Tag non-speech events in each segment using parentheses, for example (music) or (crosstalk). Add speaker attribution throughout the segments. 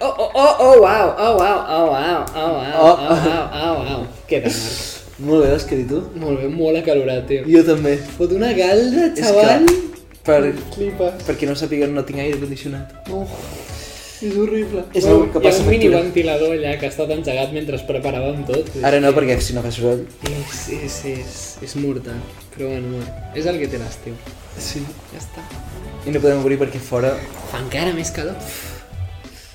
Speaker 1: oh, oh, wow, oh, wow, oh, wow, oh, wow, oh, wow, oh, wow. Què tal, Marc?
Speaker 2: Molt bé, has que dir tu?
Speaker 1: (laughs) Molt bé, molt acalorat, tio.
Speaker 2: Jo també.
Speaker 1: Fot una galda, xaval.
Speaker 2: Per,
Speaker 1: Flipes.
Speaker 2: per qui no sàpiga, no tinc aire condicionat.
Speaker 1: Oh, és horrible.
Speaker 2: És el que
Speaker 1: Hi ha
Speaker 2: passa
Speaker 1: un mini
Speaker 2: factura.
Speaker 1: ventilador allà que ha estat engegat mentre es preparàvem tot.
Speaker 2: Ara no, perquè si no fa soroll.
Speaker 1: És, és, és, és mortal. Però bueno, bueno, és el que té l'estiu.
Speaker 2: Sí.
Speaker 1: Ja està.
Speaker 2: I no podem obrir perquè fora...
Speaker 1: Fa encara més calor.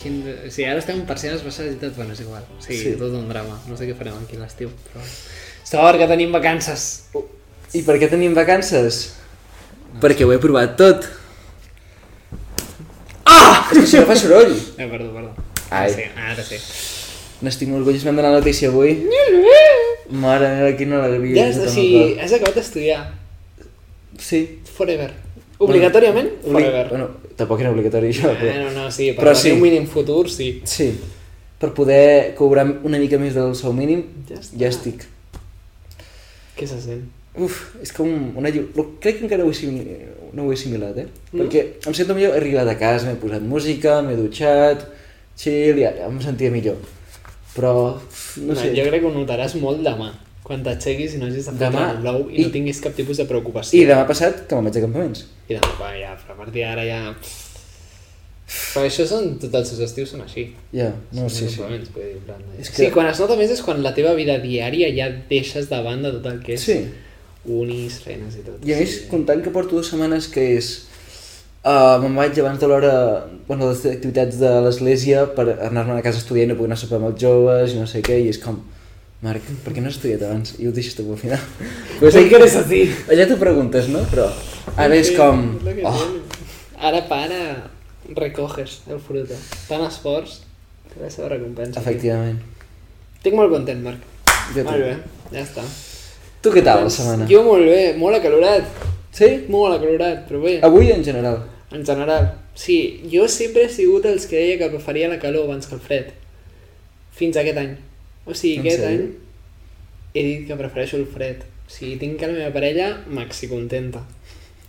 Speaker 1: Quin... O sigui, ara estem parcials basades, bueno, és igual. O sigui,
Speaker 2: Sí.
Speaker 1: sí. tot un drama. No sé què farem aquí l'estiu, però... Sort que tenim vacances!
Speaker 2: I per què tenim vacances? Perquè ho he provat tot. Ah! És que si no fa soroll.
Speaker 1: Eh, perdó, perdó.
Speaker 2: Ai.
Speaker 1: Ara sí, ara sí.
Speaker 2: N'estic molt orgullós, m'han donat notícia avui. Mare meva, quina alegria.
Speaker 1: Ja
Speaker 2: Tota
Speaker 1: has,
Speaker 2: no
Speaker 1: o
Speaker 2: te'n
Speaker 1: sigui,
Speaker 2: recordo.
Speaker 1: has acabat d'estudiar.
Speaker 2: Sí.
Speaker 1: Forever. Obligatòriament?
Speaker 2: Obli-
Speaker 1: Forever.
Speaker 2: Bueno, tampoc era obligatori això,
Speaker 1: Eh,
Speaker 2: però...
Speaker 1: no, no, sí, per
Speaker 2: Però
Speaker 1: però
Speaker 2: sí.
Speaker 1: sí. un mínim futur, sí.
Speaker 2: Sí. Per poder cobrar una mica més del sou mínim,
Speaker 1: Ja està.
Speaker 2: ja estic.
Speaker 1: Què se sent?
Speaker 2: Uf, és que un, una lliu... Crec que encara ho he, assimi- no ho he assimilat, eh? Perquè em sento millor, he arribat a casa, m'he posat música, m'he dutxat, chill, ja, ja em sentia millor. Però, uf, no, sé,
Speaker 1: Jo crec que ho notaràs molt demà, quan t'aixequis i no hagis de fer
Speaker 2: Demà?
Speaker 1: el blau i,
Speaker 2: I-
Speaker 1: no tinguis cap tipus de preocupació.
Speaker 2: I demà passat, que me'n vaig a campaments.
Speaker 1: I demà, va, ja, però a partir d'ara ja... Però això són, tots els seus estius són així.
Speaker 2: Ja, no, sí,
Speaker 1: Són
Speaker 2: sí.
Speaker 1: complements, vull dir, en plan,
Speaker 2: És
Speaker 1: Sí,
Speaker 2: que-
Speaker 1: quan es nota més és quan la teva vida diària ja deixes de banda tot el que és
Speaker 2: Sí.
Speaker 1: unis, feines i tot.
Speaker 2: I a més,
Speaker 1: Sí.
Speaker 2: comptant que porto dues setmanes que és... Uh, me'n vaig abans de l'hora, bueno, de les activitats de l'església per anar-me'n a casa a estudiar i no poder anar a sopar amb els joves i no sé què, i és com... Marc, per què no has estudiat abans? I ho deixes tu al
Speaker 1: (laughs)
Speaker 2: final. Pues
Speaker 1: Per què eres així?
Speaker 2: Allà t'ho preguntes, no? Però ara és com...
Speaker 1: lo que
Speaker 2: Oh,
Speaker 1: tiene. Ara para, recoges el fruto. Tant esforç, té la seva recompensa.
Speaker 2: efectivament.
Speaker 1: Estic molt content, Marc.
Speaker 2: Jo
Speaker 1: molt bé,
Speaker 2: també.
Speaker 1: ja està.
Speaker 2: Tu què tal la setmana?
Speaker 1: Jo molt bé, molt acalorat.
Speaker 2: Sí?
Speaker 1: Molt acalorat, però bé.
Speaker 2: Avui en general.
Speaker 1: En general, sí, jo sempre he sigut els que deia que preferia la calor abans que el fred. Fins aquest any. O sigui,
Speaker 2: En
Speaker 1: aquest
Speaker 2: sèrio?
Speaker 1: any he dit que prefereixo el fred. Si tinc a la meva parella, maxi contenta.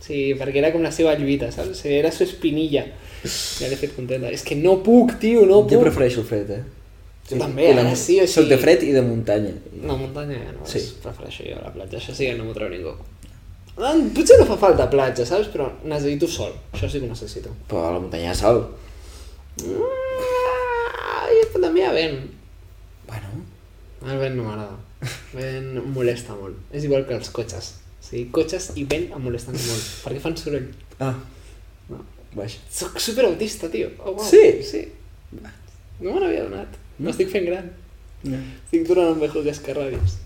Speaker 1: Sí, perquè era com la seva lluita, saps? O sigui, era su espinilla. Ja l'he fet contenta. És que no puc, tio, no puc.
Speaker 2: Jo prefereixo el fred, eh?
Speaker 1: Jo també, ara sí, o sigui...
Speaker 2: Soc de fred i de muntanya.
Speaker 1: La muntanya ja no,
Speaker 2: Sí.
Speaker 1: sí. prefereixo jo la platja, això sí que no m'ho treu ningú. Ah, Potser no fa falta platja, saps? Però necessito sol, això sí que ho necessito.
Speaker 2: Però a la muntanya hi ha sol.
Speaker 1: Ai, però Ah, també hi ha vent.
Speaker 2: Bueno,
Speaker 1: El vent no m'agrada. Vent em molesta molt. És igual que els cotxes. O sigui, cotxes i vent em molesten molt. Perquè fan soroll.
Speaker 2: Ah,
Speaker 1: No.
Speaker 2: vaja.
Speaker 1: Soc superautista, tio. Oh, wow.
Speaker 2: Sí?
Speaker 1: Sí. No me n'havia adonat.
Speaker 2: No?
Speaker 1: M'estic fent gran.
Speaker 2: No.
Speaker 1: Estic donant un vejo que escarràbies.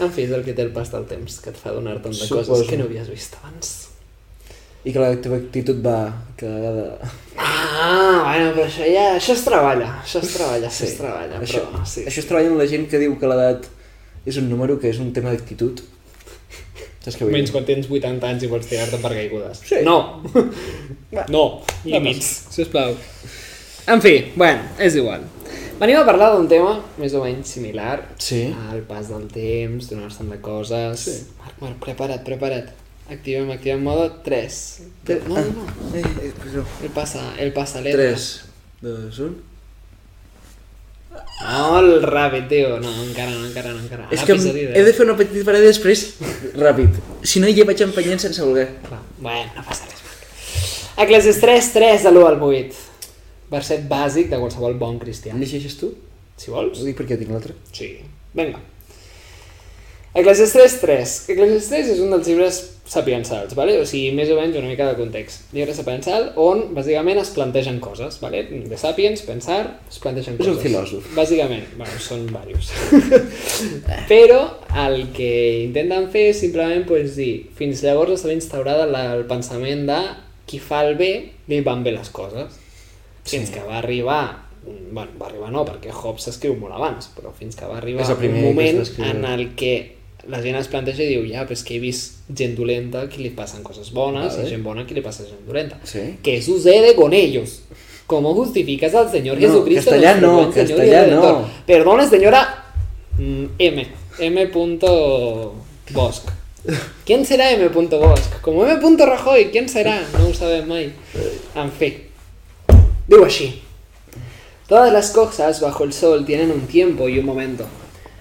Speaker 1: En fi, és el que té el pas del temps, que et fa donar tant de
Speaker 2: Suposo.
Speaker 1: coses que no havies vist abans.
Speaker 2: I que la teva actitud va cagada.
Speaker 1: Ah, bueno, però això ja... Això es treballa, això es treballa, això es treballa,
Speaker 2: això,
Speaker 1: però... Sí,
Speaker 2: Això es treballa amb la gent que diu que l'edat és un número, que és un tema d'actitud. Saps què vull
Speaker 1: Menys
Speaker 2: dir?
Speaker 1: quan tens 80 anys i vols tirar-te per caigudes.
Speaker 2: Sí. (laughs)
Speaker 1: No. no. Límits. Sisplau. En fi, bueno, és igual. Venim a parlar d'un tema més o menys similar.
Speaker 2: Sí.
Speaker 1: Al pas del temps, donar-se'n de coses...
Speaker 2: Sí.
Speaker 1: Marc, Marc, prepara't, prepara't. Activem, activem modo 3.
Speaker 2: Tre-
Speaker 1: No,
Speaker 2: ah,
Speaker 1: no, no.
Speaker 2: eh, eh, perdó.
Speaker 1: El passa, el passa l'era.
Speaker 2: 3, 2, 1...
Speaker 1: Molt ràpid, tio. No, encara no, encara no, encara.
Speaker 2: És Ah, que
Speaker 1: Episodi
Speaker 2: he de fer una petita parada després, (laughs) ràpid. Si no, ja vaig empenyent sense voler.
Speaker 1: Clar. Bueno, no passa res. Marc. Eclesias 3, 3 de l'1 al 8. Verset bàsic de qualsevol bon cristià.
Speaker 2: Em llegeixes tu?
Speaker 1: Si vols?
Speaker 2: Ho dic perquè jo tinc l'altre.
Speaker 1: Sí. Vinga. Eclesias 3, 3. Eclesias 3 és un dels llibres sapiensals, vale? o sigui, més o menys una mica de context. Llibre sapiensal on, bàsicament, es plantegen coses. Vale? De sapiens, pensar, es plantegen
Speaker 2: És
Speaker 1: coses.
Speaker 2: un filòsof.
Speaker 1: Bàsicament, bueno, són diversos. (laughs) Però el que intenten fer és simplement pues, dir fins llavors estava instaurada la, el pensament de qui fa el bé li van bé les coses. Fins que va arribar bueno, va arribar no, perquè Hobbes s'escriu molt abans, però fins que va arribar
Speaker 2: És el
Speaker 1: un
Speaker 2: primer que es va
Speaker 1: moment
Speaker 2: escriure.
Speaker 1: en el que la gent es planteja i diu, ja, però és que he vist gent dolenta a qui li passen coses bones
Speaker 2: Vale.
Speaker 1: i gent bona a qui li passa gent dolenta.
Speaker 2: Sí.
Speaker 1: ¿Qué sucede con ellos? ¿Cómo justificas al Señor
Speaker 2: No,
Speaker 1: Jesucristo?
Speaker 2: castellano,
Speaker 1: nuestro buen Señor y
Speaker 2: castellano.
Speaker 1: Redentor? Perdone, señora mm, M. M. punto Bosch. ¿Quién será M. punto Bosch? Como M. punto Rajoy, ¿quién será? No ho sabem mai. En fi. Diu així. Todas las cosas bajo el sol tienen un tiempo y un momento.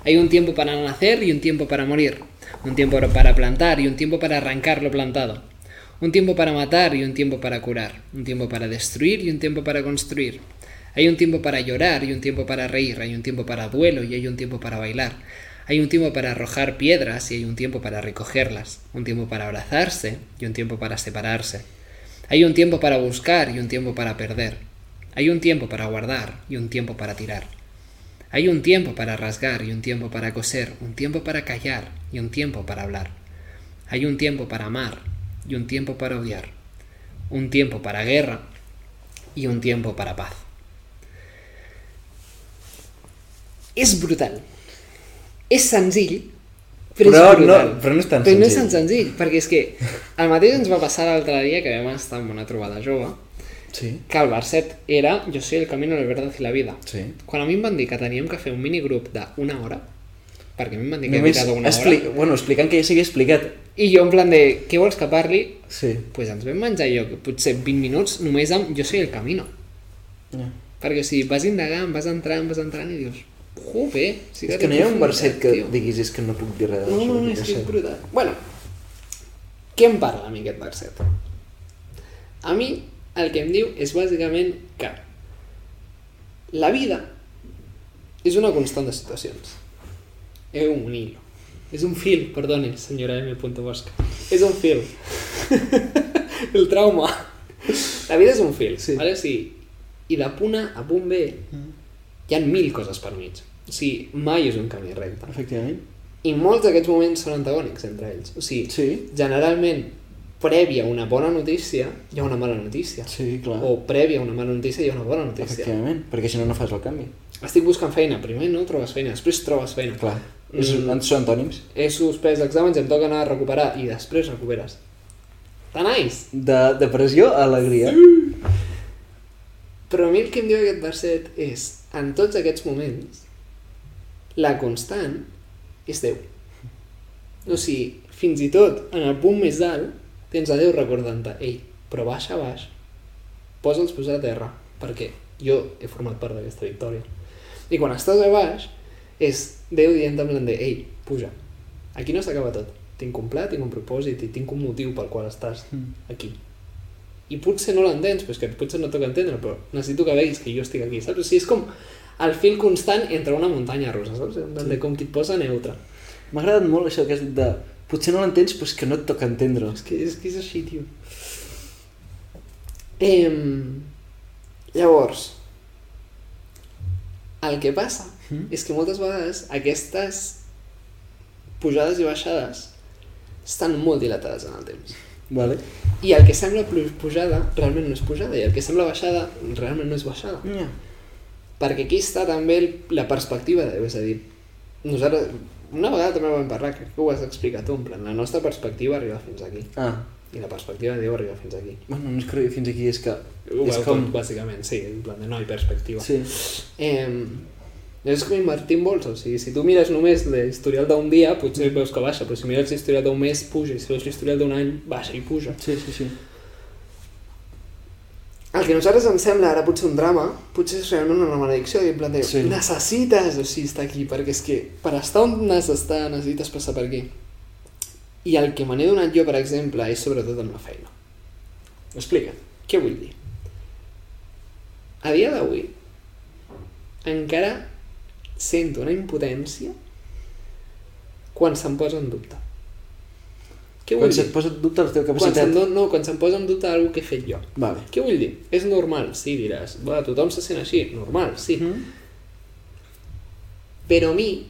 Speaker 1: Hay un tiempo para nacer y un tiempo para morir. Un tiempo para plantar y un tiempo para arrancar lo plantado. Un tiempo para matar y un tiempo para curar. Un tiempo para destruir y un tiempo para construir. Hay un tiempo para llorar y un tiempo para reír. Hay un tiempo para duelo y hay un tiempo para bailar. Hay un tiempo para arrojar piedras y hay un tiempo para recogerlas. Un tiempo para abrazarse y un tiempo para separarse. Hay un tiempo para buscar y un tiempo para perder. Hay un tiempo para guardar y un tiempo para tirar. Hay un tiempo para rasgar y un tiempo para coser, un tiempo para callar y un tiempo para hablar. Hay un tiempo para amar y un tiempo para odiar. Un tiempo para guerra y un tiempo para paz. És brutal. És senzill, però,
Speaker 2: Però
Speaker 1: és brutal.
Speaker 2: no- però no és tan
Speaker 1: però no és
Speaker 2: senzill.
Speaker 1: tan senzill, perquè és que el mateix ens va passar l'altre dia que vam estar en una trobada jove,
Speaker 2: Sí.
Speaker 1: que el verset era Jo soy el camino, la verdad y la vida.
Speaker 2: Sí.
Speaker 1: Quan a mi em van dir que teníem que fer un minigrup d'una hora, perquè a mi em van dir que
Speaker 2: Només
Speaker 1: Només he una
Speaker 2: expli...
Speaker 1: hora,
Speaker 2: bueno, explicant que ja s'havia explicat.
Speaker 1: i jo en plan de, què vols que parli?
Speaker 2: Sí.
Speaker 1: pues ens vam menjar jo, que potser 20 minuts, només amb Jo soy el camino.
Speaker 2: Ja.
Speaker 1: Perquè o sigui, vas indagant, vas entrant, vas entrant i dius, jope, sí
Speaker 2: És que no hi ha un verset que
Speaker 1: Tio.
Speaker 2: diguis és que no puc dir res.
Speaker 1: No, no, no, és que és brutal. Bueno, què em parla a mi aquest verset? A mi el que em diu és bàsicament que la vida és una constant de situacions. És un hilo. És un fil, perdone, senyora M. Bosca. És un fil. (laughs) el trauma. La vida és un fil,
Speaker 2: Sí.
Speaker 1: sí. vale? O sigui, i de puna a punt B
Speaker 2: Mm.
Speaker 1: hi ha mil coses per mig. O sigui, mai és un camí recte.
Speaker 2: Efectivament.
Speaker 1: I molts d'aquests moments són antagònics entre ells. O sigui,
Speaker 2: Sí.
Speaker 1: generalment, prèvia a una bona notícia, hi ha una mala notícia.
Speaker 2: Sí, clar.
Speaker 1: O prèvia a una mala notícia, hi ha una bona notícia.
Speaker 2: Efectivament, perquè si no, no fas el canvi.
Speaker 1: Estic buscant feina. Primer no trobes feina, després trobes feina.
Speaker 2: Clar.
Speaker 1: Mm.
Speaker 2: És, Són antònims.
Speaker 1: He suspès exàmens, em toca anar a recuperar i després recuperes. Tan nice!
Speaker 2: De depressió a alegria.
Speaker 1: Però a mi el que em diu aquest verset és, en tots aquests moments, la constant és Déu. O sigui, fins i tot en el punt més alt, tens a Déu recordant-te, ei, però baixa baix, posa'ls peus a terra, perquè jo he format part d'aquesta victòria. I quan estàs a baix, és Déu dient en plan de, ei, puja, aquí no s'acaba tot. Tinc un pla, tinc un propòsit i tinc un motiu pel qual estàs
Speaker 2: Mm.
Speaker 1: aquí i potser no l'entens, però és que potser no toca entendre, però necessito que veguis que jo estic aquí, saps? O sigui, és com el fil constant entre una muntanya russa, saps? En plan de com que et posa neutre.
Speaker 2: M'ha agradat molt això que has dit de... Potser no l'entens, però és que no et toca entendre.
Speaker 1: És que és, que és així, tio. Em... Llavors, el que passa
Speaker 2: Mm.
Speaker 1: és que moltes vegades aquestes pujades i baixades estan molt dilatades en el temps.
Speaker 2: Vale.
Speaker 1: I el que sembla plu- pujada realment no és pujada, i el que sembla baixada realment no és baixada.
Speaker 2: Ja.
Speaker 1: perquè aquí està també el- la perspectiva de Déu, és a dir, nosaltres una vegada també vam parlar, crec que ho has explicat tu, en plan, la nostra perspectiva arriba fins aquí,
Speaker 2: Ah.
Speaker 1: i la perspectiva de Déu arriba fins aquí.
Speaker 2: Bueno, no és que arribi fins aquí, és que...
Speaker 1: Ho
Speaker 2: és
Speaker 1: veu tot, bàsicament, sí, en plan de no hi perspectiva.
Speaker 2: Sí.
Speaker 1: Eh, és com invertir en bolsa, o sigui, si tu mires només l'historial d'un dia, potser veus que baixa, però si mires l'historial d'un mes, puja, i si veus l'historial d'un any, baixa i puja.
Speaker 2: Sí, sí, sí.
Speaker 1: El que a nosaltres ens sembla ara potser un drama, potser és realment una maledicció, i en plan de,
Speaker 2: Sí.
Speaker 1: sí. necessites, o sigui, estar aquí, perquè és que per estar on has d'estar necessites passar per aquí. I el que me n'he donat jo, per exemple, és sobretot en la feina. Explica, què vull dir? A dia d'avui, encara sento una impotència quan se'm posa en dubte. Què vull
Speaker 2: Quan se't
Speaker 1: dir?
Speaker 2: posa en dubte la teva
Speaker 1: Quan
Speaker 2: capacitat...
Speaker 1: se'm, no, no, quan se'm posa en dubte alguna que he fet jo.
Speaker 2: Vale.
Speaker 1: Què vull dir? És normal, sí, diràs. Va, tothom se sent així, normal, sí. Mm. Però a mi,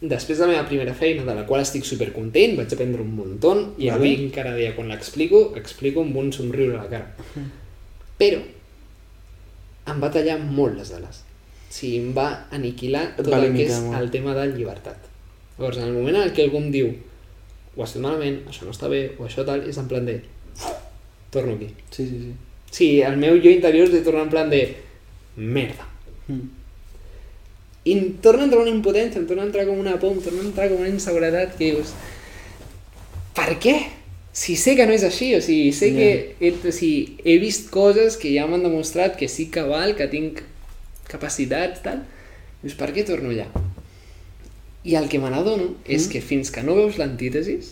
Speaker 1: després de la meva primera feina, de la qual estic supercontent, vaig aprendre un muntó, i
Speaker 2: Vale.
Speaker 1: avui encara dia quan l'explico, explico amb un somriure a la cara. Però em va tallar molt les ales. O sigui, em va aniquilar
Speaker 2: Et
Speaker 1: tot
Speaker 2: va
Speaker 1: el que
Speaker 2: limitar
Speaker 1: és
Speaker 2: molt.
Speaker 1: el tema de llibertat. Llavors, en el moment en què algú em diu ho has fet malament, això no està bé, o això tal, és en plan de... Torno aquí.
Speaker 2: Sí, sí, sí.
Speaker 1: Sí, el meu jo interior de tornar en plan de... Merda.
Speaker 2: Mm.
Speaker 1: I em torna a entrar una impotència, em torna a entrar com una por, em torna a entrar com una inseguretat que dius... Per què? Si sé que no és així, o sigui, sé
Speaker 2: Ja.
Speaker 1: que he, o sigui, he vist coses que ja m'han demostrat que sí que val, que tinc capacitats, tal. Dius, per què torno allà? I el que me n'adono és que fins que no veus l'antítesis,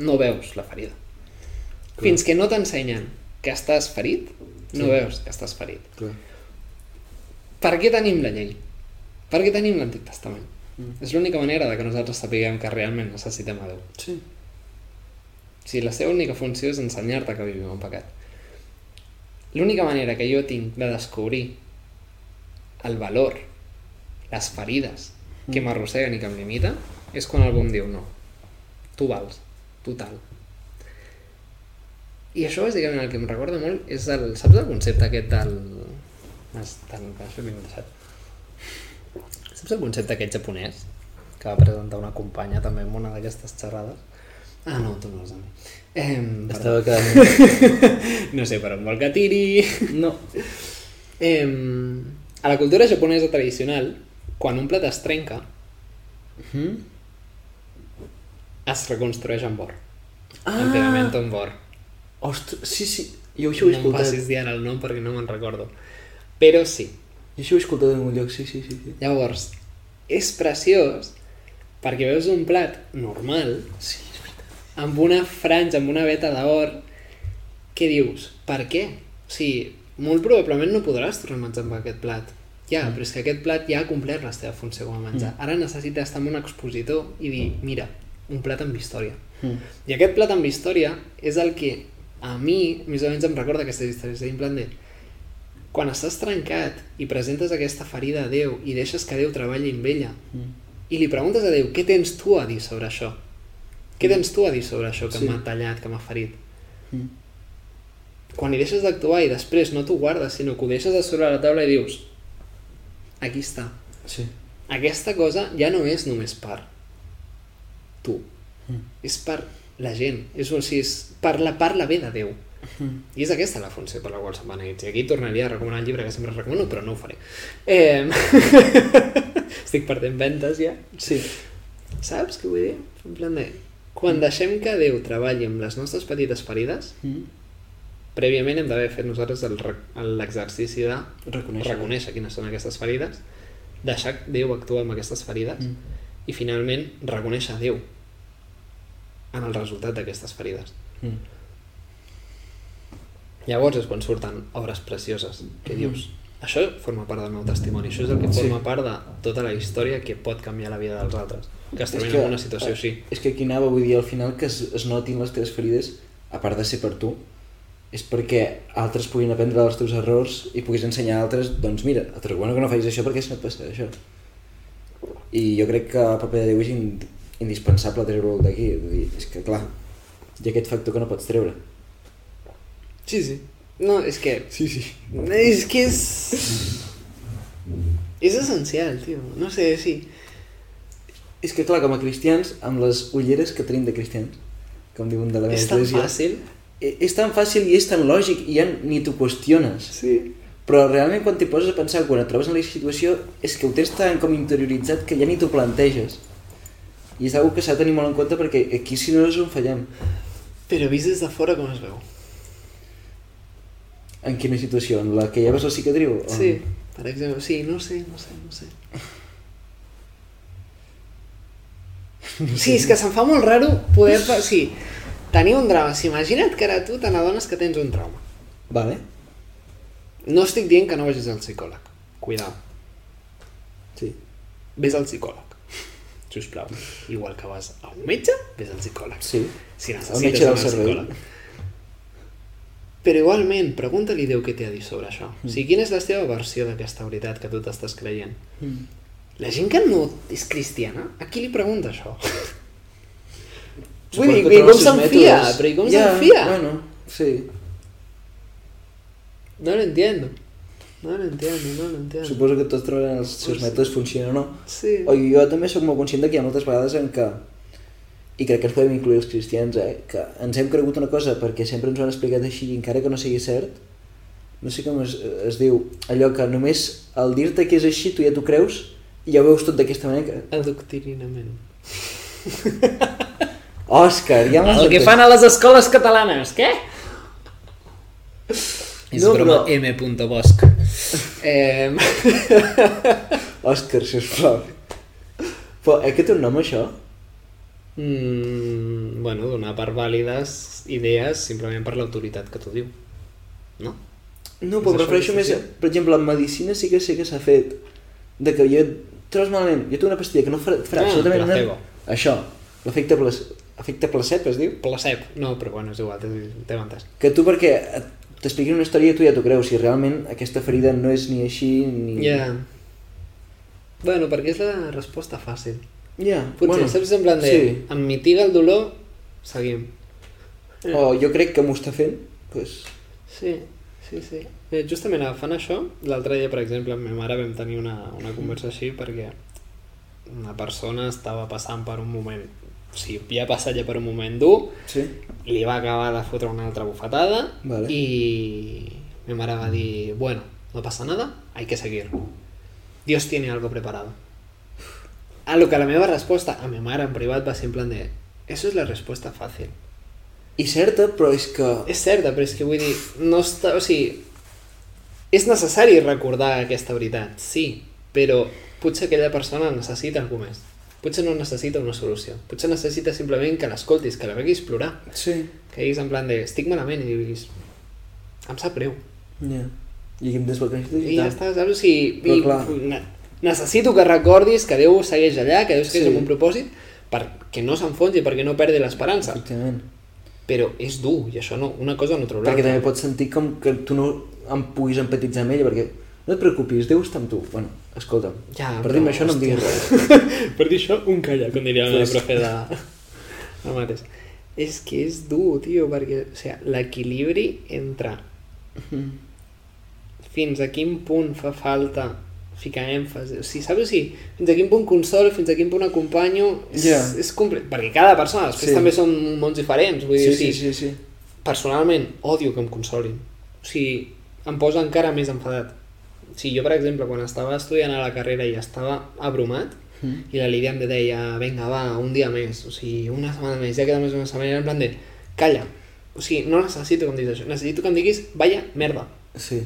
Speaker 1: no veus la ferida. Fins que no t'ensenyen que estàs ferit, no
Speaker 2: Sí.
Speaker 1: veus que estàs ferit.
Speaker 2: Clar.
Speaker 1: Per què tenim la llei? Per què tenim l'Antic Testament?
Speaker 2: Mm.
Speaker 1: És l'única manera de que nosaltres sapiguem que realment necessitem a Déu.
Speaker 2: Sí.
Speaker 1: Si la seva única funció és ensenyar-te que vivim en pecat. L'única manera que jo tinc de descobrir el valor, les ferides que
Speaker 2: Mm.
Speaker 1: m'arrosseguen i que em limiten, és quan algú em diu no, tu vals, total. I això bàsicament el que em recorda molt és el, saps el concepte aquest del... M'has- Del... Això m'he deixat. Saps el concepte aquest japonès? Que va presentar una companya també en una d'aquestes xerrades. Ah, no, tu no els ami. Eh,
Speaker 2: Estava quedant...
Speaker 1: (laughs) No sé per on vol que tiri.
Speaker 2: No.
Speaker 1: Eh, a la cultura japonesa tradicional, quan un plat es trenca,
Speaker 2: Mm?
Speaker 1: es reconstrueix amb or.
Speaker 2: Ah!
Speaker 1: Enterament amb or.
Speaker 2: Ostres, sí, sí. Jo
Speaker 1: No
Speaker 2: això ho he
Speaker 1: em
Speaker 2: escoltat.
Speaker 1: facis dir ara el nom perquè no me'n recordo. Però sí,
Speaker 2: Jo això ho he escoltat en algun lloc, sí, sí, sí. sí.
Speaker 1: llavors, és preciós perquè veus un plat normal
Speaker 2: Sí, és veritat.
Speaker 1: amb una franja, amb una veta d'or, què dius? Per què? O sigui, molt probablement no podràs tornar a menjar amb aquest plat. Ja,
Speaker 2: Mm.
Speaker 1: però és que aquest plat ja ha complert la seva funció com a menjar. Ara necessites estar amb un expositor i dir, mira, un plat amb història.
Speaker 2: Mm.
Speaker 1: I aquest plat amb història és el que a mi, més o menys, em recorda aquestes històries. És a dir, en plan de, quan estàs trencat i presentes aquesta ferida a Déu i deixes que Déu treballi amb ella
Speaker 2: Mm.
Speaker 1: i li preguntes a Déu què tens tu a dir sobre això? Què tens tu a dir sobre això que
Speaker 2: Sí.
Speaker 1: m'ha tallat, que m'ha ferit?
Speaker 2: Mm.
Speaker 1: Quan hi deixes d'actuar i després no t'ho guardes, sinó que ho deixes a sobre la taula i dius aquí està.
Speaker 2: Sí.
Speaker 1: Aquesta cosa ja no és només per tu.
Speaker 2: Mm.
Speaker 1: És per la gent. És, o sigui, és per la parla bé de Déu.
Speaker 2: Mm.
Speaker 1: I és aquesta la funció per la qual se'n beneïts. I aquí tornaria a recomanar el llibre que sempre recomano, però no ho faré. Eh... (laughs) Estic perdent ventes ja.
Speaker 2: Sí.
Speaker 1: Saps què vull dir? En plan de... Quan deixem que Déu treballi amb les nostres petites ferides,
Speaker 2: Mm.
Speaker 1: prèviament hem d'haver fet nosaltres el rec- l'exercici de
Speaker 2: Reconèixer.
Speaker 1: reconèixer quines són aquestes ferides, deixar que Déu actuar amb aquestes ferides
Speaker 2: Mm.
Speaker 1: i finalment reconèixer Déu en el resultat d'aquestes ferides.
Speaker 2: Mm.
Speaker 1: Llavors és quan surten obres precioses, que dius, això forma part del meu testimoni, això és el que
Speaker 2: Sí.
Speaker 1: forma part de tota la història que pot canviar la vida dels altres, que es trobin en una situació
Speaker 2: eh,
Speaker 1: així.
Speaker 2: És que aquí anava, vull dir, al final que es, es notin les teves ferides, a part de ser per tu, és perquè altres puguin aprendre dels teus errors i puguis ensenyar a altres, doncs mira, et recomano que no facis això perquè si no et passarà això. I jo crec que el paper de Déu és in, indispensable treure'l d'aquí, vull dir, és que clar, hi ha aquest factor que no pots treure.
Speaker 1: Sí, sí. No, és que
Speaker 2: Sí, sí.
Speaker 1: És que és... (laughs) És essencial, tio. No sé, sí.
Speaker 2: És que clar, com a cristians, amb les ulleres que tenim de cristians, com diu un de la meva
Speaker 1: és tan
Speaker 2: església,
Speaker 1: fàcil.
Speaker 2: e- és tan fàcil i és tan lògic i ja ni t'ho qüestiones.
Speaker 1: Sí.
Speaker 2: Però realment quan t'hi poses a pensar, quan et trobes en la situació, és que ho tens tan com interioritzat que ja ni t'ho planteges. I és una que s'ha de tenir molt en compte perquè aquí si no és on fallem.
Speaker 1: Però vist des de fora com es veu.
Speaker 2: En quina situació? En la que ja ves la cicatriu? O-
Speaker 1: Sí. Per exemple, sí, no sé, no sé, no
Speaker 2: (laughs)
Speaker 1: sé. Sí, és que se'm fa molt raro poder... pa- Sí, tenir un drama. Sí, imagina't que ara tu te n'adones que tens un trauma.
Speaker 2: Vale.
Speaker 1: No estic dient que no vagis al psicòleg. Cuidao.
Speaker 2: Sí.
Speaker 1: Ves al psicòleg. Si us plau. Igual que vas a un metge, ves al psicòleg.
Speaker 2: Sí.
Speaker 1: Si
Speaker 2: El
Speaker 1: necessites
Speaker 2: metge del
Speaker 1: anar al
Speaker 2: cervell.
Speaker 1: psicòleg. Però igualment, pregunta-li Déu què té a dir sobre això. O sigui, quina és la teva versió d'aquesta veritat que tu t'estàs creient?
Speaker 2: Mm.
Speaker 1: La gent que no és cristiana, a qui li pregunta això? Vull
Speaker 2: Suposo
Speaker 1: dir,
Speaker 2: que
Speaker 1: i
Speaker 2: trobaràs
Speaker 1: com
Speaker 2: els
Speaker 1: se'n fia?
Speaker 2: mètodes.
Speaker 1: Però i com
Speaker 2: ja,
Speaker 1: se'n fia?
Speaker 2: Bueno, sí.
Speaker 1: No lo entiendo. No lo entiendo, no lo entiendo.
Speaker 2: Suposo que tots trobaran els seus
Speaker 1: Eh. Sí.
Speaker 2: mètodes funcionen o no.
Speaker 1: Sí.
Speaker 2: O jo també sóc molt conscient de que hi ha moltes vegades en què i crec que ens podem incloure els cristians eh? que ens hem cregut una cosa perquè sempre ens ho han explicat així encara que no sigui cert no sé com es, es diu allò que només al dir-te que és així tu ja t'ho creus i ja ho veus tot d'aquesta manera que...
Speaker 1: Adoctrinament.
Speaker 2: Òscar, ja m'has
Speaker 1: El que
Speaker 2: entès.
Speaker 1: fan a les escoles catalanes, què?
Speaker 2: És No, broma, però-
Speaker 1: M.Bosch. Eh,
Speaker 2: Òscar, sisplau. Però, eh, que té un nom, això?
Speaker 1: (laughs) mm, bueno, donar per vàlides idees simplement per l'autoritat que t'ho diu. No? És això
Speaker 2: No, però
Speaker 1: que
Speaker 2: prefereixo més...
Speaker 1: s'ha
Speaker 2: a- Per exemple, en medicina sí que sé que s'ha fet. De que jo et trobes malament, jo tinc una pastilla que no farà, et farà
Speaker 1: Ah,
Speaker 2: absolutament
Speaker 1: placebo.
Speaker 2: res. Això, l'efecte plac... efecte placebo es diu?
Speaker 1: Placep. No, però bueno, és igual, t'he t'he entès.
Speaker 2: Que tu perquè et- t'expliquin una història tu ja t'ho creus, si realment aquesta ferida no és ni així ni...
Speaker 1: Yeah. Bueno, perquè és la resposta fàcil.
Speaker 2: Yeah,
Speaker 1: Potser, bueno, saps en plan de... Sí.
Speaker 2: Sí.
Speaker 1: Em mitiga el dolor, seguim.
Speaker 2: O jo crec que m'ho està fent, doncs...
Speaker 1: Sí, sí, sí. Eh, Justament fan això, l'altre dia, per exemple, amb ma mare vam tenir una, una conversa així perquè una persona estava passant per un moment, o sigui, havia passat ja per un moment dur,
Speaker 2: Sí?
Speaker 1: li va acabar de fotre una altra bufetada
Speaker 2: Vale.
Speaker 1: i mi mare va dir, bueno, no pasa nada, hay que seguir. Dios tiene algo preparado. A lo que la meva resposta a mi mare en privat va ser en plan de, eso es la respuesta fácil.
Speaker 2: I certa, però és que...
Speaker 1: És certa, però és que vull dir, no està, o sigui, és necessari recordar aquesta veritat, sí, però potser aquella persona necessita algú més. Potser no necessita una solució. Potser necessita simplement que l'escoltis, que la veguis plorar,
Speaker 2: Sí.
Speaker 1: que diguis en plan de estic malament i diguis em sap greu.
Speaker 2: Yeah. I aquí em desbloqueixo
Speaker 1: I ja està, saps? O sigui,
Speaker 2: Però
Speaker 1: i,
Speaker 2: clar.
Speaker 1: ne- necessito que recordis que Déu segueix allà, que Déu segueix
Speaker 2: Sí.
Speaker 1: amb un propòsit perquè no s'enfonsi, perquè no perdi l'esperança.
Speaker 2: Efectivament.
Speaker 1: Però és dur i això no, una cosa no trobarà.
Speaker 2: Perquè també pots sentir com que tu no em puguis empatitzar amb ella, perquè no et preocupis, Déu està amb tu. Bueno, escolta'm,
Speaker 1: Ja,
Speaker 2: per
Speaker 1: però,
Speaker 2: dir-me això no em
Speaker 1: hòstia.
Speaker 2: diguis res. (laughs)
Speaker 1: per dir això, un calla, com diria la meva
Speaker 2: Pues-
Speaker 1: profe (laughs) de... No mates. És que és dur, tio, perquè, o sigui, l'equilibri entre fins a quin punt fa falta ficar èmfasi, o sigui, saps? O sigui, fins a quin punt consolo, fins a quin punt acompanyo, és,
Speaker 2: Ja.
Speaker 1: és complet, perquè cada persona, després
Speaker 2: Sí.
Speaker 1: també són mons diferents, vull dir,
Speaker 2: Sí,
Speaker 1: o
Speaker 2: sí,
Speaker 1: sigui,
Speaker 2: sí, sí.
Speaker 1: personalment odio que em consolin. O sigui, em posa encara més enfadat. O sigui, jo, per exemple, quan estava estudiant a la carrera i estava abrumat,
Speaker 2: Mm.
Speaker 1: i la Lídia em deia, vinga, va, un dia més, o sigui, una setmana més, ja queda més una setmana, i era en plan de, calla, o sigui, no necessito que em diguis això, necessito que em diguis, vaya merda.
Speaker 2: Sí.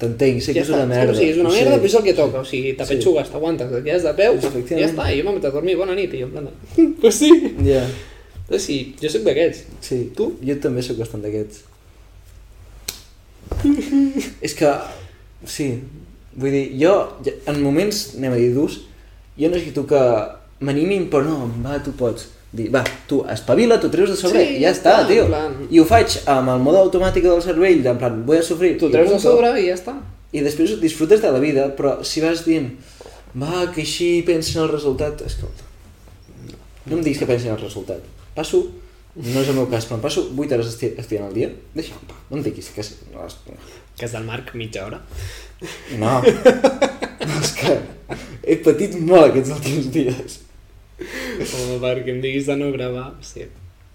Speaker 2: T'entenc, sé que és
Speaker 1: està,
Speaker 2: una
Speaker 1: saps?
Speaker 2: merda.
Speaker 1: O sigui, és una
Speaker 2: ho sé.
Speaker 1: merda, però és el que toca, o sigui, t'apetxugues, t'aguantes, et quedes de peu,
Speaker 2: Efectivament.
Speaker 1: ja està, i jo m'he anat a dormir, bona nit, i jo en plan
Speaker 2: (laughs)
Speaker 1: de, pues sí.
Speaker 2: Ja,
Speaker 1: O sigui, jo sóc d'aquests.
Speaker 2: sí.
Speaker 1: Tu?
Speaker 2: Jo també sóc bastant d'aquests. és que, sí, vull dir, jo, ja- en moments, anem a dir durs, jo necessito que m'animin, però no, va, tu pots dir, va, tu espavila, tu treus de sobre,
Speaker 1: Sí,
Speaker 2: i ja està,
Speaker 1: clar,
Speaker 2: tio.
Speaker 1: en plan-
Speaker 2: I ho faig amb el mode automàtic del cervell, en plan, vull sofrir.
Speaker 1: Tu
Speaker 2: i
Speaker 1: treus de
Speaker 2: punto.
Speaker 1: sobre i ja està.
Speaker 2: I després disfrutes de la vida, però si vas dient, va, que així pensen el resultat, escolta, no em diguis que pensen el resultat. Passo, no és el meu cas, però em passo 8 hores esti estudiant al dia, deixa'm, en pau, no em diguis que... és- No, és...
Speaker 1: Que és del Marc mitja (laughs) hora. (laughs)
Speaker 2: no. no, és que he patit molt aquests últims dies.
Speaker 1: Home, perquè em diguis de no gravar, sí.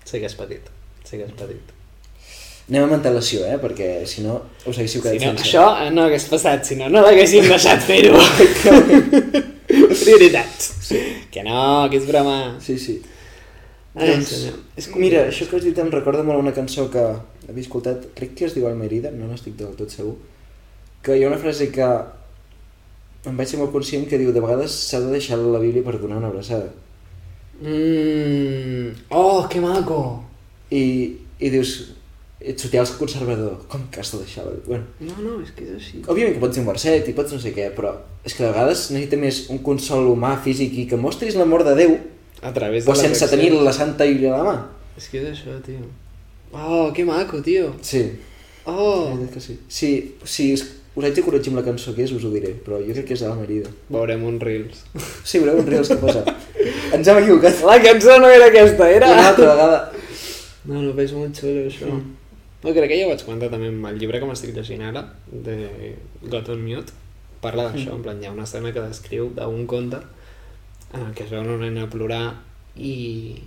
Speaker 1: Sé que és petit, sé que és petit.
Speaker 2: Anem amb antelació, eh, perquè si no us haguéssiu
Speaker 1: Si
Speaker 2: quedat
Speaker 1: no, això eh, no hagués passat, si no, no l'haguéssim deixat (laughs) fer-ho. Prioritats. Que no, que és broma.
Speaker 2: Sí, sí.
Speaker 1: Ai,
Speaker 2: Doncs,
Speaker 1: senyor, és complicat,
Speaker 2: mira, això que has dit em recorda molt a una cançó que havia escoltat, crec que es diu Almerida, no n'estic del tot segur, que hi ha una frase que em vaig ser molt conscient que diu de vegades s'ha de deixar la Bíblia per donar una abraçada.
Speaker 1: Mm. Oh, que maco.
Speaker 2: I, i dius, ets social conservador, com que has de deixar la Bíblia? Bueno,
Speaker 1: No, no, és que és així.
Speaker 2: òbviament que pots dir un verset i pots no sé què, però és que de vegades necessita més un consol humà, físic i que mostris l'amor de Déu,
Speaker 1: A través de
Speaker 2: però sense
Speaker 1: accions.
Speaker 2: tenir la santa Bíblia a la mà.
Speaker 1: És que és això, tio. Oh, que maco, tio.
Speaker 2: Sí.
Speaker 1: Oh.
Speaker 2: veritat que sí. Sí, sí, us, us haig de corregir amb la cançó que és, us ho diré, però jo crec que és de la Merida.
Speaker 1: Veurem un Reels.
Speaker 2: Sí, veureu un reels que
Speaker 1: (laughs)
Speaker 2: posa. Ens hem equivocat.
Speaker 1: La cançó no era aquesta, era... (laughs)
Speaker 2: Una altra vegada.
Speaker 1: No, no, però és molt xulo això. Mm. No, crec que ja ho vaig comentar també amb el llibre que m'estic llegint ara, de Got on Mute, parla d'això, en plan hi ha una escena que descriu d'un conte en el que es veu una nena plorar i,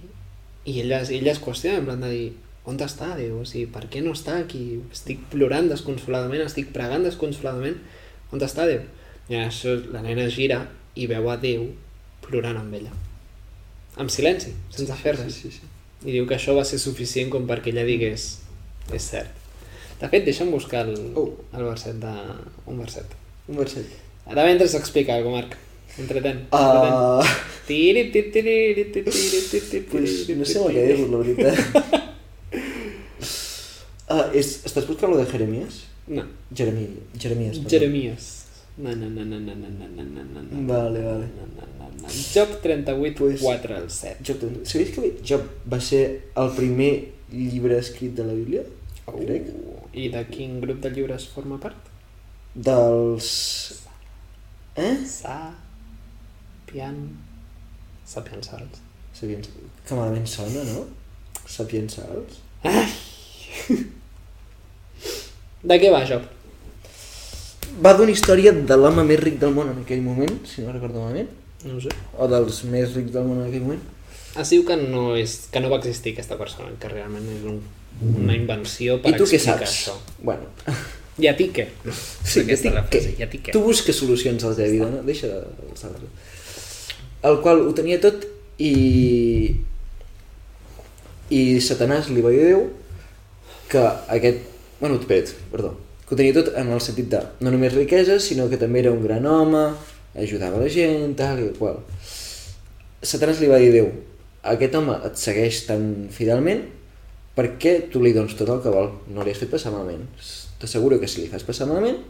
Speaker 1: i ella, ella es qüestiona, en plan de dir on està, Déu? O sigui, per què no està aquí? Estic plorant desconsoladament, estic pregant desconsoladament, on està Déu? I en això la nena gira i veu a Déu plorant amb ella. Amb silenci, sense fer res.
Speaker 2: Sí, sí, sí.
Speaker 1: I diu que això va ser suficient com perquè ella digués és cert. De fet, deixa'm buscar el,
Speaker 2: Oh.
Speaker 1: el verset de... un verset.
Speaker 2: Un
Speaker 1: (laughs)
Speaker 2: verset.
Speaker 1: Ara mentre s'explica algo, Marc. Entretent. entretent.
Speaker 2: Uh,
Speaker 1: Tiri, tiri, tiri, tiri, tiri, tiri,
Speaker 2: pues,
Speaker 1: tiri,
Speaker 2: no sé el que
Speaker 1: tiri.
Speaker 2: dir, la veritat.
Speaker 1: (laughs)
Speaker 2: Ah, és, estàs buscant lo de Jeremies?
Speaker 1: No.
Speaker 2: Jeremí, Jeremies. perdó.
Speaker 1: Jeremies. No, no, no, no, no, no, no, no, no, no, no.
Speaker 2: Vale, vale.
Speaker 1: No, no, no, no. Job 38,
Speaker 2: Pues-
Speaker 1: 4 al 7.
Speaker 2: Job, també. sabies que Job va ser el primer llibre escrit de la Bíblia?
Speaker 1: Oh.
Speaker 2: Grec?
Speaker 1: I de quin grup de llibres forma part?
Speaker 2: Dels... Eh?
Speaker 1: Sa... Pian... Sapiens Sals.
Speaker 2: Sapiens... Que malament sona, no? Sapiensals?
Speaker 1: De què va, Job?
Speaker 2: Va d'una història de l'home més ric del món en aquell moment, si no recordo malament.
Speaker 1: No sé.
Speaker 2: O dels més rics del món en aquell moment.
Speaker 1: Es Ah, diu que no, és, que no va existir aquesta persona, que realment és un, una invenció per
Speaker 2: Mm. I tu què
Speaker 1: explicar
Speaker 2: saps?
Speaker 1: això. (laughs)
Speaker 2: Bueno,
Speaker 1: I a ti què? (laughs)
Speaker 2: Sí,
Speaker 1: Aquesta
Speaker 2: ja
Speaker 1: és la
Speaker 2: tinc
Speaker 1: frase,
Speaker 2: que-
Speaker 1: i a ti què?
Speaker 2: Tu busques solucions a la teva vida, no? Deixa de saber El qual ho tenia tot i... I Satanàs li va dir a Déu que aquest... Bueno, espera't, perdó. Que ho tenia tot en el sentit de no només riquesa, sinó que també era un gran home, ajudava la gent, tal i qual. Satanàs li va dir a Déu, aquest home et segueix tan fidelment perquè tu li dones tot el que vol, no li has fet passar malament. T'asseguro que si li fas passar malament,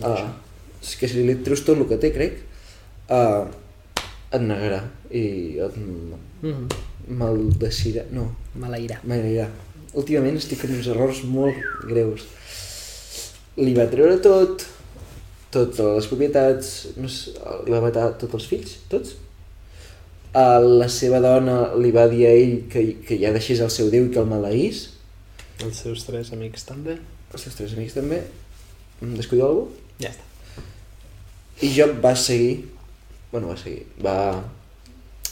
Speaker 2: Ah, és que si li treus tot el que té, crec, ah, et negarà i et m-
Speaker 1: Mm
Speaker 2: maldecirà. No,
Speaker 1: Maleirà.
Speaker 2: m'agrairà. Últimament estic fent uns errors molt greus. Li va treure tot, totes les propietats, no sé, li va matar tots els fills, tots. A la seva dona li va dir a ell que, que ja deixés el seu déu i que el maleís.
Speaker 1: Els seus tres amics també.
Speaker 2: Els seus tres amics també. Em descuido algú?
Speaker 1: Ja està.
Speaker 2: I Job va seguir, bueno, va seguir, va...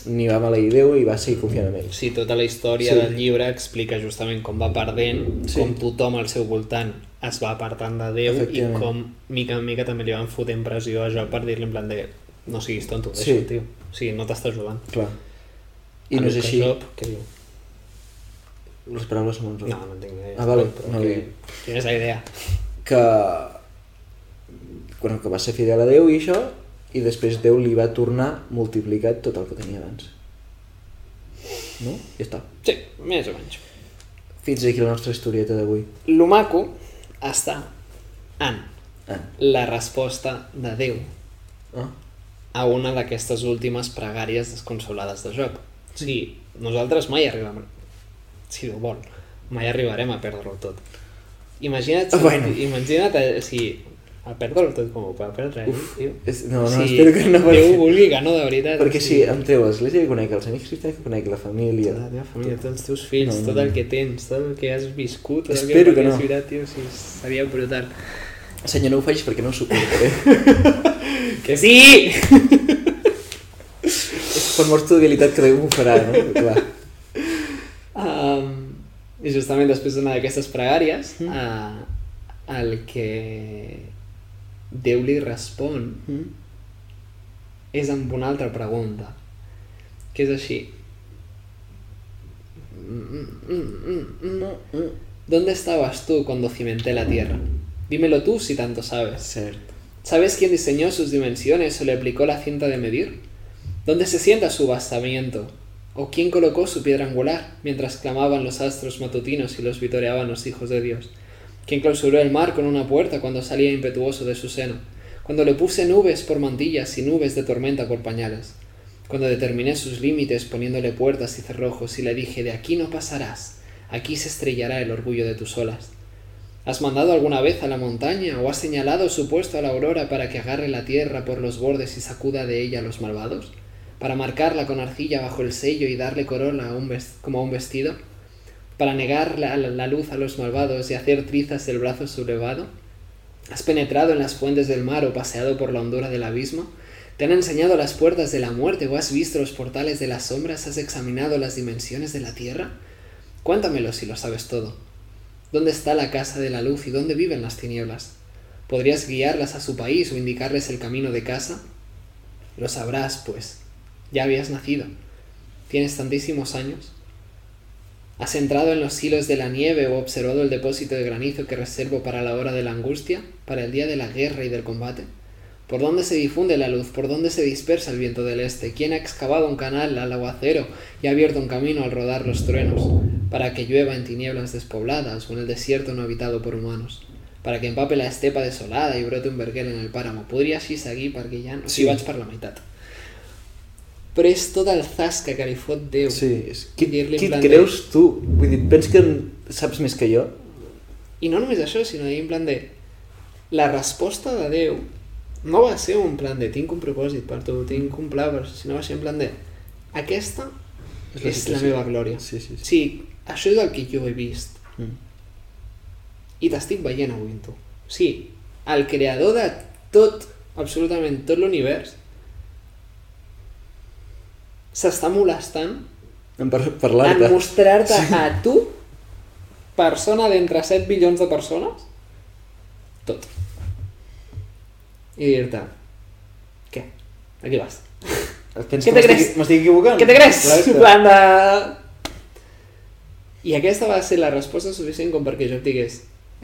Speaker 2: Ni va maleir Déu i va seguir confiant en ell.
Speaker 1: Sí, tota la història
Speaker 2: Sí.
Speaker 1: sí. del llibre explica justament com va perdent,
Speaker 2: Sí.
Speaker 1: sí. com tothom al seu voltant es va apartant de Déu i
Speaker 2: Efectivament.
Speaker 1: com mica en mica també li van fotent pressió a Job per dir-li en plan de no siguis tonto,
Speaker 2: Sí.
Speaker 1: deixa'm, sí. tio. O sigui, no t'està ajudant.
Speaker 2: Clar. I
Speaker 1: A
Speaker 2: no
Speaker 1: lo
Speaker 2: és
Speaker 1: que
Speaker 2: així.
Speaker 1: Job, què diu?
Speaker 2: Les paraules són uns
Speaker 1: No, no en tinc ni idea.
Speaker 2: Ah, vale,
Speaker 1: Però
Speaker 2: no
Speaker 1: que-
Speaker 2: li-
Speaker 1: Quina és la idea?
Speaker 2: Que... Bueno, que va ser fidel a Déu i això, i després Déu li va tornar multiplicat tot el que tenia abans. No? Ja està.
Speaker 1: Sí, més o menys.
Speaker 2: Fins aquí la nostra historieta d'avui.
Speaker 1: Lo maco està en
Speaker 2: Ah.
Speaker 1: la resposta de Déu
Speaker 2: Ah.
Speaker 1: a una d'aquestes últimes pregàries desconsolades de Job. O sigui, nosaltres mai arribem, si Déu vol, mai arribarem a perdre-ho tot. Imagina't,
Speaker 2: Bueno.
Speaker 1: bueno. imagina't eh, o sigui, a perdre-ho tot com ho va perdre ell,
Speaker 2: Uf,
Speaker 1: tio.
Speaker 2: és... No, no,
Speaker 1: Si
Speaker 2: espero que no
Speaker 1: Déu
Speaker 2: perquè...
Speaker 1: vulgui que no, de veritat.
Speaker 2: Perquè eh,
Speaker 1: o
Speaker 2: si
Speaker 1: sigui,
Speaker 2: em treu l'església que conec, els amics cristians que conec, la família...
Speaker 1: Tota la teva família, tots els teus fills,
Speaker 2: No, no,
Speaker 1: tot el que tens, tot el que has viscut, tot
Speaker 2: Espero
Speaker 1: el
Speaker 2: que
Speaker 1: que,
Speaker 2: no.
Speaker 1: has vibrat, tio, o sigui, seria brutal.
Speaker 2: Senyor, no ho facis perquè no ho eh? suportaré. (laughs)
Speaker 1: Que sí!
Speaker 2: Per mostra d'habilitat que Déu m'ho farà, no? Clar.
Speaker 1: Um, I justament després d'una d'aquestes pregàries, mm. uh, el que Déu li respon
Speaker 2: Mm.
Speaker 1: és amb una altra pregunta, que és així. Mm, mm, mm, mm. ¿Dónde estabas tú cuando cimenté la tierra? Dímelo tú si tanto sabes.
Speaker 2: Cert.
Speaker 1: ¿Sabes quién diseñó sus dimensiones o le aplicó la cinta de medir? ¿Dónde se sienta su bastamiento? ¿O quién colocó su piedra angular mientras clamaban los astros matutinos y los vitoreaban los hijos de Dios? ¿Quién clausuró el mar con una puerta cuando salía impetuoso de su seno? Cuando le puse nubes por mantillas y nubes de tormenta por pañales. Cuando determiné sus límites poniéndole puertas y cerrojos y le dije, de aquí no pasarás, aquí se estrellará el orgullo de tus olas. ¿Has mandado alguna vez a la montaña o has señalado su puesto a la aurora para que agarre la tierra por los bordes y sacuda de ella a los malvados? ¿Para marcarla con arcilla bajo el sello y darle corona a un ves- como a un vestido? ¿Para negar la, la- la luz a los malvados y hacer trizas el brazo sublevado? ¿Has penetrado en las fuentes del mar o paseado por la hondura del abismo? ¿Te han enseñado las puertas de la muerte o has visto los portales de las sombras? ¿Has examinado las dimensiones de la tierra? Cuéntamelo si lo sabes todo. ¿Dónde está la casa de la luz y dónde viven las tinieblas? ¿Podrías guiarlas a su país o indicarles el camino de casa? Lo sabrás, pues. Ya habías nacido. Tienes tantísimos años. ¿Has entrado en los hilos de la nieve o observado el depósito de granizo que reservo para la hora de la angustia, para el día de la guerra y del combate? ¿Por dónde se difunde la luz? ¿Por dónde se dispersa el viento del este? ¿Quién ha excavado un canal al aguacero y ha abierto un camino al rodar los truenos? Para que llueva en tinieblas despobladas o en el desierto no habitado por humanos. Para que empape la estepa desolada y brote un verguer en el páramo. Podria així seguir perquè ja no
Speaker 2: Sí.
Speaker 1: sí. vaig per la meitat. Però és tot el zasca que li fot Déu.
Speaker 2: Sí, és... Qui,
Speaker 1: Dir-li en
Speaker 2: qui et
Speaker 1: plan de-
Speaker 2: creus tu? Vull dir, penses que en saps més que jo?
Speaker 1: I no només això, sinó dir en plan de... La resposta de Déu no va ser un plan de tinc un propòsit per tu, tinc un pla, per... sinó va ser en plan de... Aquesta és la, és la
Speaker 2: situació.
Speaker 1: meva glòria.
Speaker 2: Sí, sí, sí.
Speaker 1: Sí, això és el que jo he vist
Speaker 2: Mm.
Speaker 1: i t'estic veient avui amb tu. O sigui, el creador de tot, absolutament tot l'univers, s'està molestant
Speaker 2: En par
Speaker 1: en
Speaker 2: parlar-te.
Speaker 1: mostrar-te a tu, persona d'entre 7 bilions de persones, tot. I dir-te, què? Aquí vas.
Speaker 2: Penses
Speaker 1: Què
Speaker 2: que
Speaker 1: te
Speaker 2: m'estic-
Speaker 1: creus?
Speaker 2: M'estic equivocant?
Speaker 1: Què te creus?
Speaker 2: Exacte.
Speaker 1: Plan de... I aquesta va ser la resposta suficient com perquè jo et digués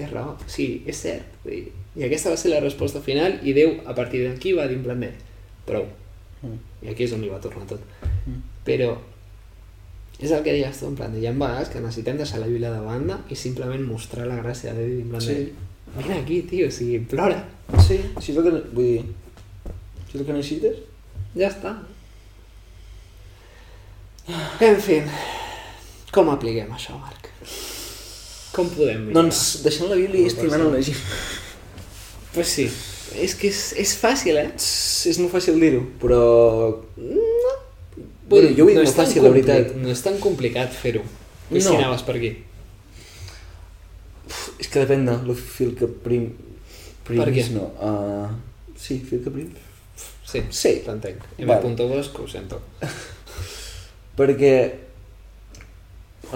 Speaker 1: és raó, sí, és cert. Vull dir, I aquesta va ser la resposta final i Déu a partir d'aquí va dir en plan de prou.
Speaker 2: Mm.
Speaker 1: I aquí és on hi va tornar tot.
Speaker 2: Mm.
Speaker 1: Però és el que deies tu, en plan de hi ha vegades que necessitem deixar la Bíblia de banda i simplement mostrar la gràcia de Déu i en plan
Speaker 2: Sí.
Speaker 1: de vine aquí, tio, o sigui, plora.
Speaker 2: Sí, si és el que... ne- Vull dir... Si és el que necessites?
Speaker 1: Ja està. En fi, com apliquem això, Marc? Com podem millorar?
Speaker 2: Doncs deixant la Bíblia i estimant la gent.
Speaker 1: Pues sí, és que és, és fàcil, eh?
Speaker 2: És és molt fàcil dir-ho, però...
Speaker 1: Vull
Speaker 2: Bueno,
Speaker 1: dir,
Speaker 2: jo ho
Speaker 1: és
Speaker 2: dic molt
Speaker 1: tan
Speaker 2: fàcil, la
Speaker 1: compli-
Speaker 2: veritat.
Speaker 1: No és tan complicat fer-ho. I
Speaker 2: No.
Speaker 1: si anaves per aquí?
Speaker 2: Pff, És que depèn de lo fil que prim... Prims,
Speaker 1: Per què?
Speaker 2: No. Uh, sí, fil que prim.
Speaker 1: Sí,
Speaker 2: Sí.
Speaker 1: t'entenc.
Speaker 2: Vale.
Speaker 1: M.Bosco, ho sento.
Speaker 2: Perquè...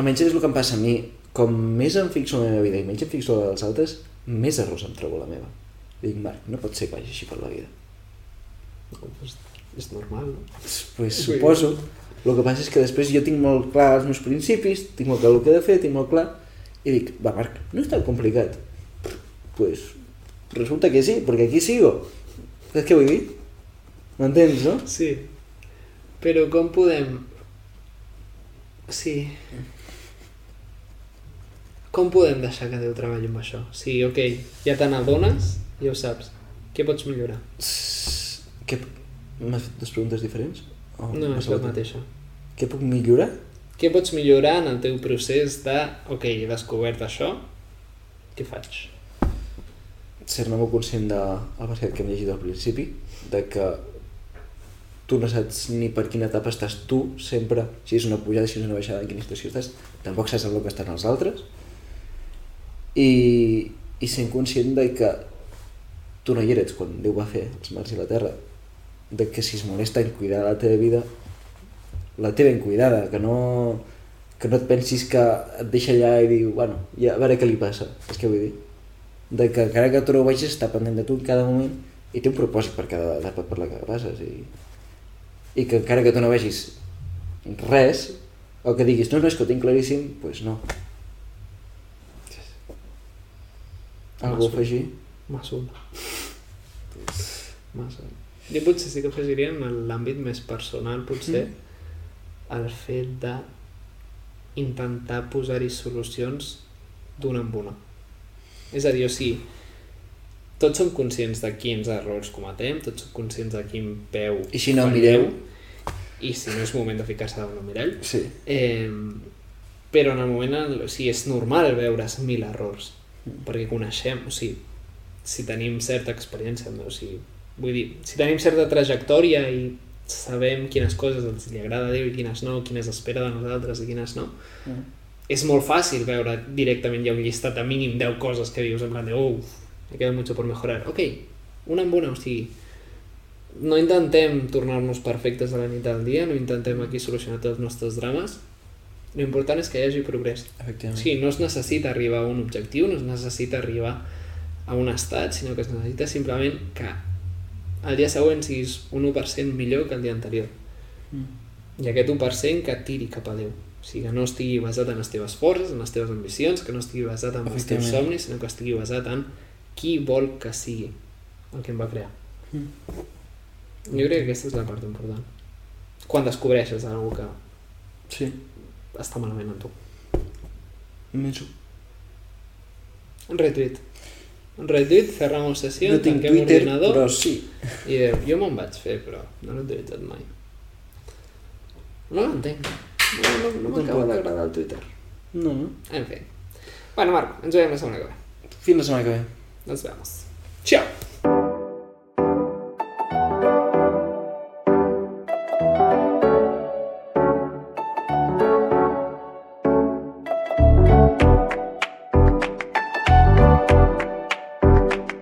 Speaker 2: Almenys és el que em passa a mi. Com més em fixo en la meva vida i menys em fixo en la dels altres, més arròs em trobo a la meva. Dic, Marc, no pot ser que vagi així per la vida.
Speaker 1: No, pues, és normal, no?
Speaker 2: Pues suposo. El que passa és que després jo tinc molt clar els meus principis, tinc molt clar el que he de fer, tinc molt clar, i dic, va Marc, no és tan complicat. Pues resulta que sí, perquè aquí sigo. Saps què vull dir? M'entens, no?
Speaker 1: Sí. Però com podem... Sí. Com podem deixar que Déu treballi amb això? Sí, ok, ja te n'adones, ja ho saps. Què pots millorar?
Speaker 2: Sss, Què... M'has fet dues preguntes diferents? O
Speaker 1: No,
Speaker 2: m'has
Speaker 1: és la
Speaker 2: fet-
Speaker 1: mateixa.
Speaker 2: Què puc millorar?
Speaker 1: Què pots millorar en el teu procés de, ok, he descobert això, què faig?
Speaker 2: Ser-ne molt conscient del de, el verset que hem llegit al principi, de que tu no saps ni per quina etapa estàs tu, sempre, si és una pujada, si és una baixada, en quina situació estàs, tampoc saps el que estan els altres. I, i sent conscient de que tu no hi eres quan Déu va fer els mars i la terra, de que si es molesta en cuidar la teva vida, la té ben cuidada, que no, que no et pensis que et deixa allà i diu, bueno, ja, a veure què li passa, és que vull dir, de que encara que tu no ho vegis, està pendent de tu en cada moment i té un propòsit per cada etapa per la que passes i, i que encara que tu no vegis res, o que diguis, no, no, és que ho tinc claríssim, doncs pues no. Algú a afegir?
Speaker 1: Massa una. Massa. Jo potser sí que afegiria en l'àmbit més personal, potser, mm. el fet de intentar posar-hi solucions d'una en una. És a dir, o sigui, tots som conscients de quins errors cometem, tots som conscients de quin peu
Speaker 2: I si no,
Speaker 1: fallem,
Speaker 2: mireu.
Speaker 1: i si no és moment de ficar-se davant un mirall,
Speaker 2: Sí.
Speaker 1: Eh, però en el moment, en, o sigui, és normal veure's mil errors, perquè coneixem, o sigui, si tenim certa experiència, no? o sigui, vull dir, si tenim certa trajectòria i sabem quines coses ens li agrada a Déu i quines no, quines espera de nosaltres i quines no,
Speaker 2: Mm.
Speaker 1: és molt fàcil veure directament ja un llistat de mínim 10 coses que dius en plan de uf, me queda mucho por mejorar. Ok, una amb una, o sigui, no intentem tornar-nos perfectes a la nit del dia, no intentem aquí solucionar tots els nostres drames, l'important és que hi hagi progrés.
Speaker 2: Efectivament.
Speaker 1: Sí, no es necessita arribar a un objectiu, no es necessita arribar a un estat, sinó que es necessita simplement que el dia següent siguis un 1% millor que el dia anterior.
Speaker 2: Mm.
Speaker 1: I aquest 1% que et tiri cap a Déu. O sigui, que no estigui basat en les teves forces, en les teves ambicions, que no estigui basat en els teus
Speaker 2: Efectivament.
Speaker 1: somnis, sinó que estigui basat en qui vol que sigui el que em va crear.
Speaker 2: Mm.
Speaker 1: Jo crec que aquesta és la part important. Quan descobreixes algú que
Speaker 2: Sí,
Speaker 1: està malament amb tu.
Speaker 2: menso.
Speaker 1: Un retweet. Un retweet, cerrem una sessió,
Speaker 2: No tinc
Speaker 1: tanquem
Speaker 2: Twitter,
Speaker 1: l'ordinador
Speaker 2: però sí.
Speaker 1: i diu, jo me'n vaig fer, però no l'he utilitzat mai. No l'entenc. No, no, no m'acaba
Speaker 2: Tampoc.
Speaker 1: d'agradar el Twitter.
Speaker 2: No, no.
Speaker 1: En fi. Bueno, Marc, ens veiem la setmana que ve.
Speaker 2: Fins la setmana que ve.
Speaker 1: Nos vemos. Ciao!